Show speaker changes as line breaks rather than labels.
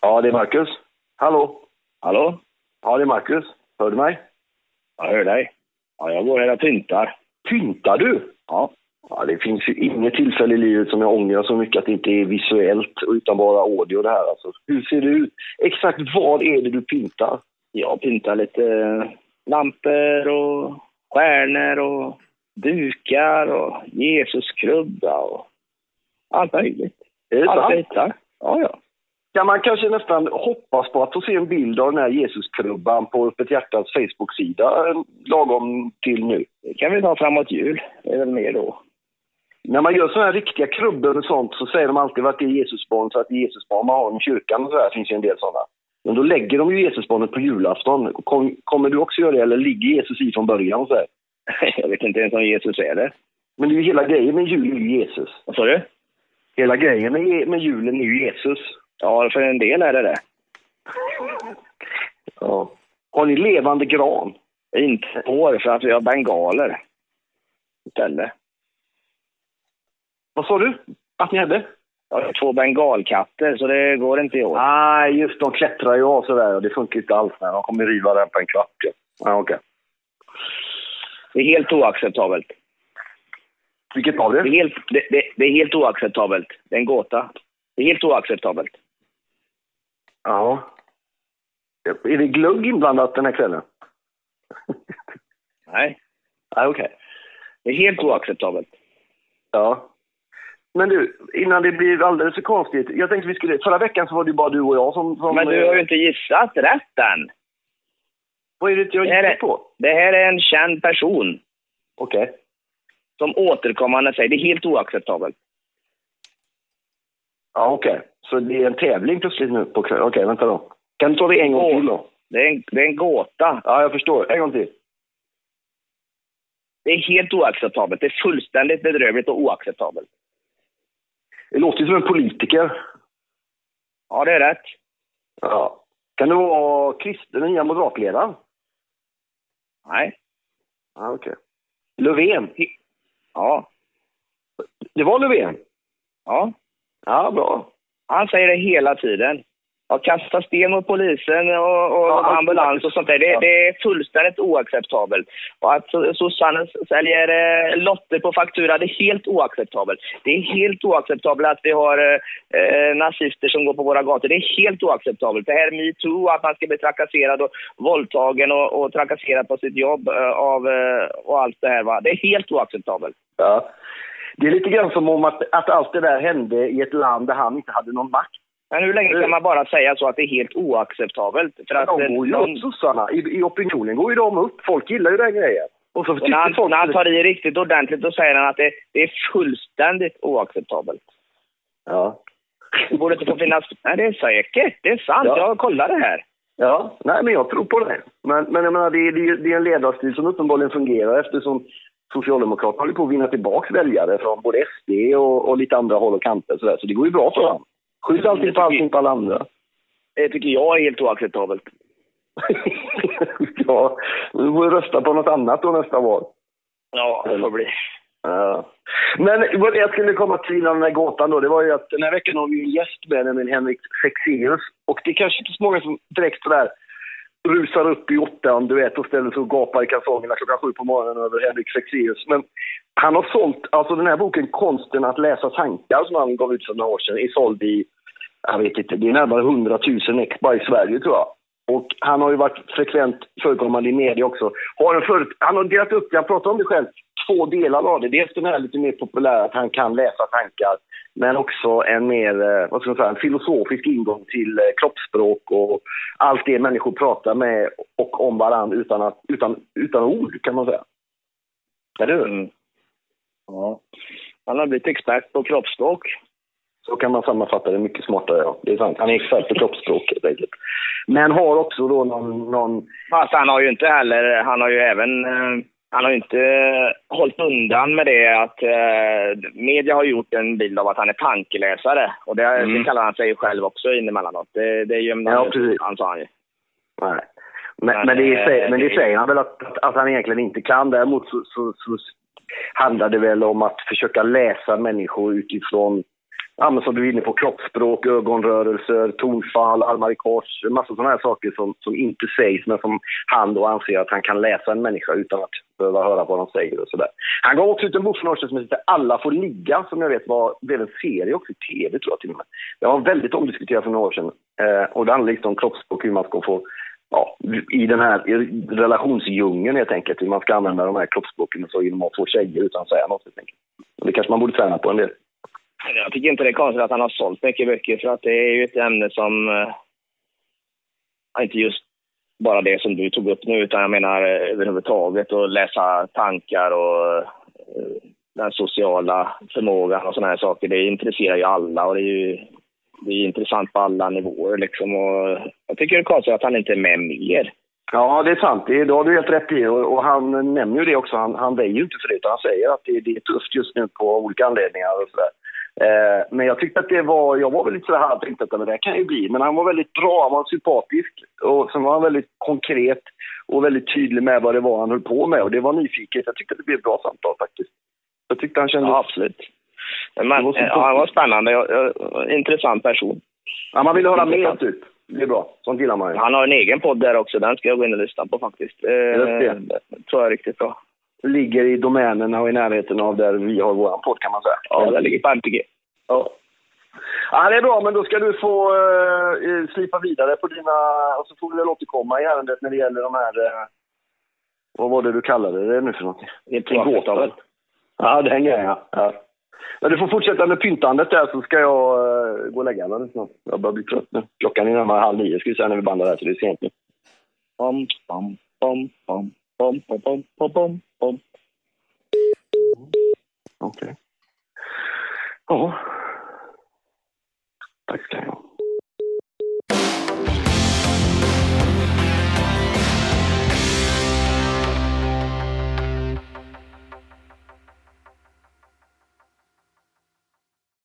Ja, det är Marcus. Hallå?
Hallå?
Ja, det är Marcus. Hör du mig?
Jag hör dig. Ja, jag går här och pyntar.
Pyntar du?
Ja.
Ja, det finns ju inget tillfälle i livet som jag ångrar så mycket att det inte är visuellt utan bara audio det här alltså. Hur ser det ut? Exakt vad är det du pyntar?
Jag pyntar lite eh, lampor och stjärnor och dukar och Jesuskrubba och allt möjligt.
Är det
Allt jag
sant?
hittar. Ja, ja.
Kan man kanske nästan hoppas på att få se en bild av den här Jesuskrubban på Öppet Hjärtas Facebook-sida eh, lagom till nu?
Det kan vi ta framåt jul. Det är väl mer då.
När man gör sådana här riktiga krubbor och sånt så säger de alltid att det är Jesusbarn så att det är Jesusbarn man har i kyrkan och sådär finns ju en del sådana. Men då lägger de ju Jesusbarnet på julafton. Kom, kommer du också göra det eller ligger Jesus i från början och så här?
Jag vet inte ens om Jesus är det.
Men det är ju hela grejen med jul är ju Jesus.
Vad sa du?
Hela grejen med, med julen är ju Jesus.
Ja, för en del är det det.
Ja. Har ni levande gran?
Inte år för att vi har bengaler istället.
Vad sa du att ni hade?
Jag har två bengalkatter, så det går inte i år.
Nej, just de klättrar ju av sådär och det funkar inte alls. Nej, de kommer riva den på en kvart. Ja, ja okej.
Det är helt oacceptabelt.
Vilket var det?
Det är, helt, det, det, det är helt oacceptabelt. Det är en gåta. Det är helt oacceptabelt.
Ja. Är det glögg inblandat den här kvällen?
Nej,
Ja, okej.
det är helt oacceptabelt.
Ja. Men du, innan det blir alldeles för konstigt. Jag tänkte vi skulle, förra veckan så var det ju bara du och jag som... som
Men du har ju inte gissat rätt än.
Vad är det jag
Det här
gissar
är,
på?
det här är en känd person
Okej.
som återkommande säger det är helt oacceptabelt.
Ja, okej. Så det är en tävling plötsligt nu på kvällen. Okej, vänta då. Kan du ta det en gång
Åh.
till då?
Det är, en, det är en gåta.
Ja, jag förstår. En gång till.
Det är helt oacceptabelt. Det är fullständigt bedrövligt och oacceptabelt.
Det låter ju som en politiker.
Ja, det är rätt.
Ja. Kan det vara Christ, den nya moderatledaren?
Nej.
Ja, okej. Löfven.
Ja.
Det var Löfven?
Ja.
Ja, bra.
Han säger det hela tiden. Jag kastar sten mot polisen och, och
Ja, han-
ambulans och sånt där. Det,
Ja.
det är fullständigt oacceptabelt. Och att so- sossarna säljer eh, lotter på faktura, det är helt oacceptabelt. Det är helt oacceptabelt att vi har eh, eh, nazister som går på våra gator. Det är helt oacceptabelt. Det här metoo, att man ska bli trakasserad och våldtagen och, och trakasserad på sitt jobb eh, av, eh, och allt det här. Va? Det är helt oacceptabelt.
Ja. Det är lite grann som om att, att allt det där hände i ett land där han inte hade någon makt.
Men hur länge
Mm.
kan man bara säga så att det är helt oacceptabelt? För att eh,
De går ju
någon-
upp, sossarna. I, I opinionen går ju de upp. Folk gillar ju den grejen. Och så
Och när,
tycker
han,
folk...
när han tar i riktigt ordentligt då säger han att det, det är fullständigt oacceptabelt.
Ja.
Det borde inte få finnas. Nej, det är säkert. Det är sant.
Ja.
Jag kollar det här.
ja. Nej, men jag tror på det. Men, men jag menar, det, är- det, är- det är en ledarstil som uppenbarligen fungerar eftersom Socialdemokraterna håller på att vinna tillbaka väljare från både SD och, och lite andra håll och kanter. Så, så det går ju bra för dem. Skyll allting på allting på alla andra.
Det tycker jag är helt oacceptabelt.
ja, du får rösta på något annat då nästa val.
Ja, det får bli.
Ja. Men vad jag skulle komma till av den här gåtan då, det var ju att den här veckan har vi ju en gäst med, nämligen Henrik Sexeus. Och det är kanske inte så många som direkt sådär rusar upp i åttan, du vet, och ställer sig och gapar i kalsongerna klockan sju på morgonen över Henrik Sexeus. Men han har sålt, alltså den här boken Konsten att läsa tankar som han gav ut för några år sedan är såld i, jag vet inte, det är närmare 100 000 ex bara i Sverige tror jag. Och han har ju varit frekvent förekommande i media också. Har en förut, han har delat upp, jag pratar om det själv, två delar av det. Dels den här lite mer populära att han kan läsa tankar, men också en mer eh, vad ska man säga, en filosofisk ingång till eh, kroppsspråk och allt det människor pratar med och om varandra utan, att, utan, utan ord kan man säga. Eller hur?
Mm. Ja. Han har blivit expert på kroppsspråk.
Så kan man sammanfatta det mycket smartare. Ja. Det är sant. Han är expert på kroppsspråk helt enkelt. Men har också då någon, någon
Fast han har ju inte heller, han har ju även, eh, han har ju inte eh, hållit undan med det att eh, media har gjort en bild av att han är tankeläsare. Och det,
Mm.
det kallar han sig själv också in emellanåt. Det, det gömde
Ja,
han ju
precis.
undan, sa han ju.
Nej. Men,
Men,
men, det,
eh,
säger, men det
det-
säger han väl att, att, att han egentligen inte kan. Däremot så, så, så handlar det väl om att försöka läsa människor utifrån ja, men som du är inne på, kroppsspråk, ögonrörelser, tonfall, armar i kors. Massa sådana här saker som, som inte sägs men som han då anser att han kan läsa en människa utan att behöva höra vad de säger och sådär. Han gav också ut en bok för några år sedan som heter Alla får ligga som jag vet var, blev en serie också i tv tror jag till och med. Den var väldigt omdiskuterad för några år sedan eh, och det handlar liksom om kroppsspråk, hur man ska få Ja, i den här relationsdjungeln helt enkelt, hur man ska använda de här kroppsspråken och så genom att få tjejer utan att säga något helt enkelt. Och det kanske man borde träna på en del.
Jag tycker inte det är konstigt att han har sålt mycket böcker för att det är ju ett ämne som... Eh, inte just bara det som du tog upp nu utan jag menar eh, överhuvudtaget att läsa tankar och eh, den sociala förmågan och sådana här saker. Det intresserar ju alla och det är ju det är intressant på alla nivåer liksom. Och jag tycker det är konstigt att han inte är med mer.
Ja, det är sant. Det, är- det har du helt rätt i. Och, och han nämner ju det också. Han, han väjer ju inte för det, utan han säger att det, det är tufft just nu på olika anledningar och sådär. Eh, men jag tyckte att det var... Jag var väl lite så här tänkte att "Men det här kan ju bli. Men han var väldigt bra, han var sympatisk och sen var han väldigt konkret och väldigt tydlig med vad det var han höll på med. Och det var nyfiket. Jag tyckte att det blev ett bra samtal faktiskt. Jag tyckte han kände...
Ja,
Ja.
absolut.
Det
Men
var så
eh, ja, han var spännande. Jag- jag- Intressant person.
man ville höra mer, typ. Det är bra. Sånt gillar man ju.
Han har en egen podd där också. Den ska jag gå in och lyssna på faktiskt. Eh,
det.
tror jag är riktigt bra.
Ligger i domänerna och i närheten av där vi har vår podd, kan man säga.
Ja, den ligger på MTG.
Ja. ja, det är bra, men då ska du få uh, slipa vidare på dina... Och så får du väl återkomma i ärendet när det gäller de här... eh, vad var det du kallade det nu för något?
Det är privatavtal.
Ja, den grejen, ja. ja. Men du får fortsätta med pyntandet där så ska jag eh, gå och lägga mig snart. Jag börjar bli trött nu. Klockan är närmare halv nio ska vi säga när vi bandar här, så det är sent nu.
Bom, bom, bom, bom, bom, bom, bom, bom, bom, bom.
Okej. Ja. Tack ska ni ha.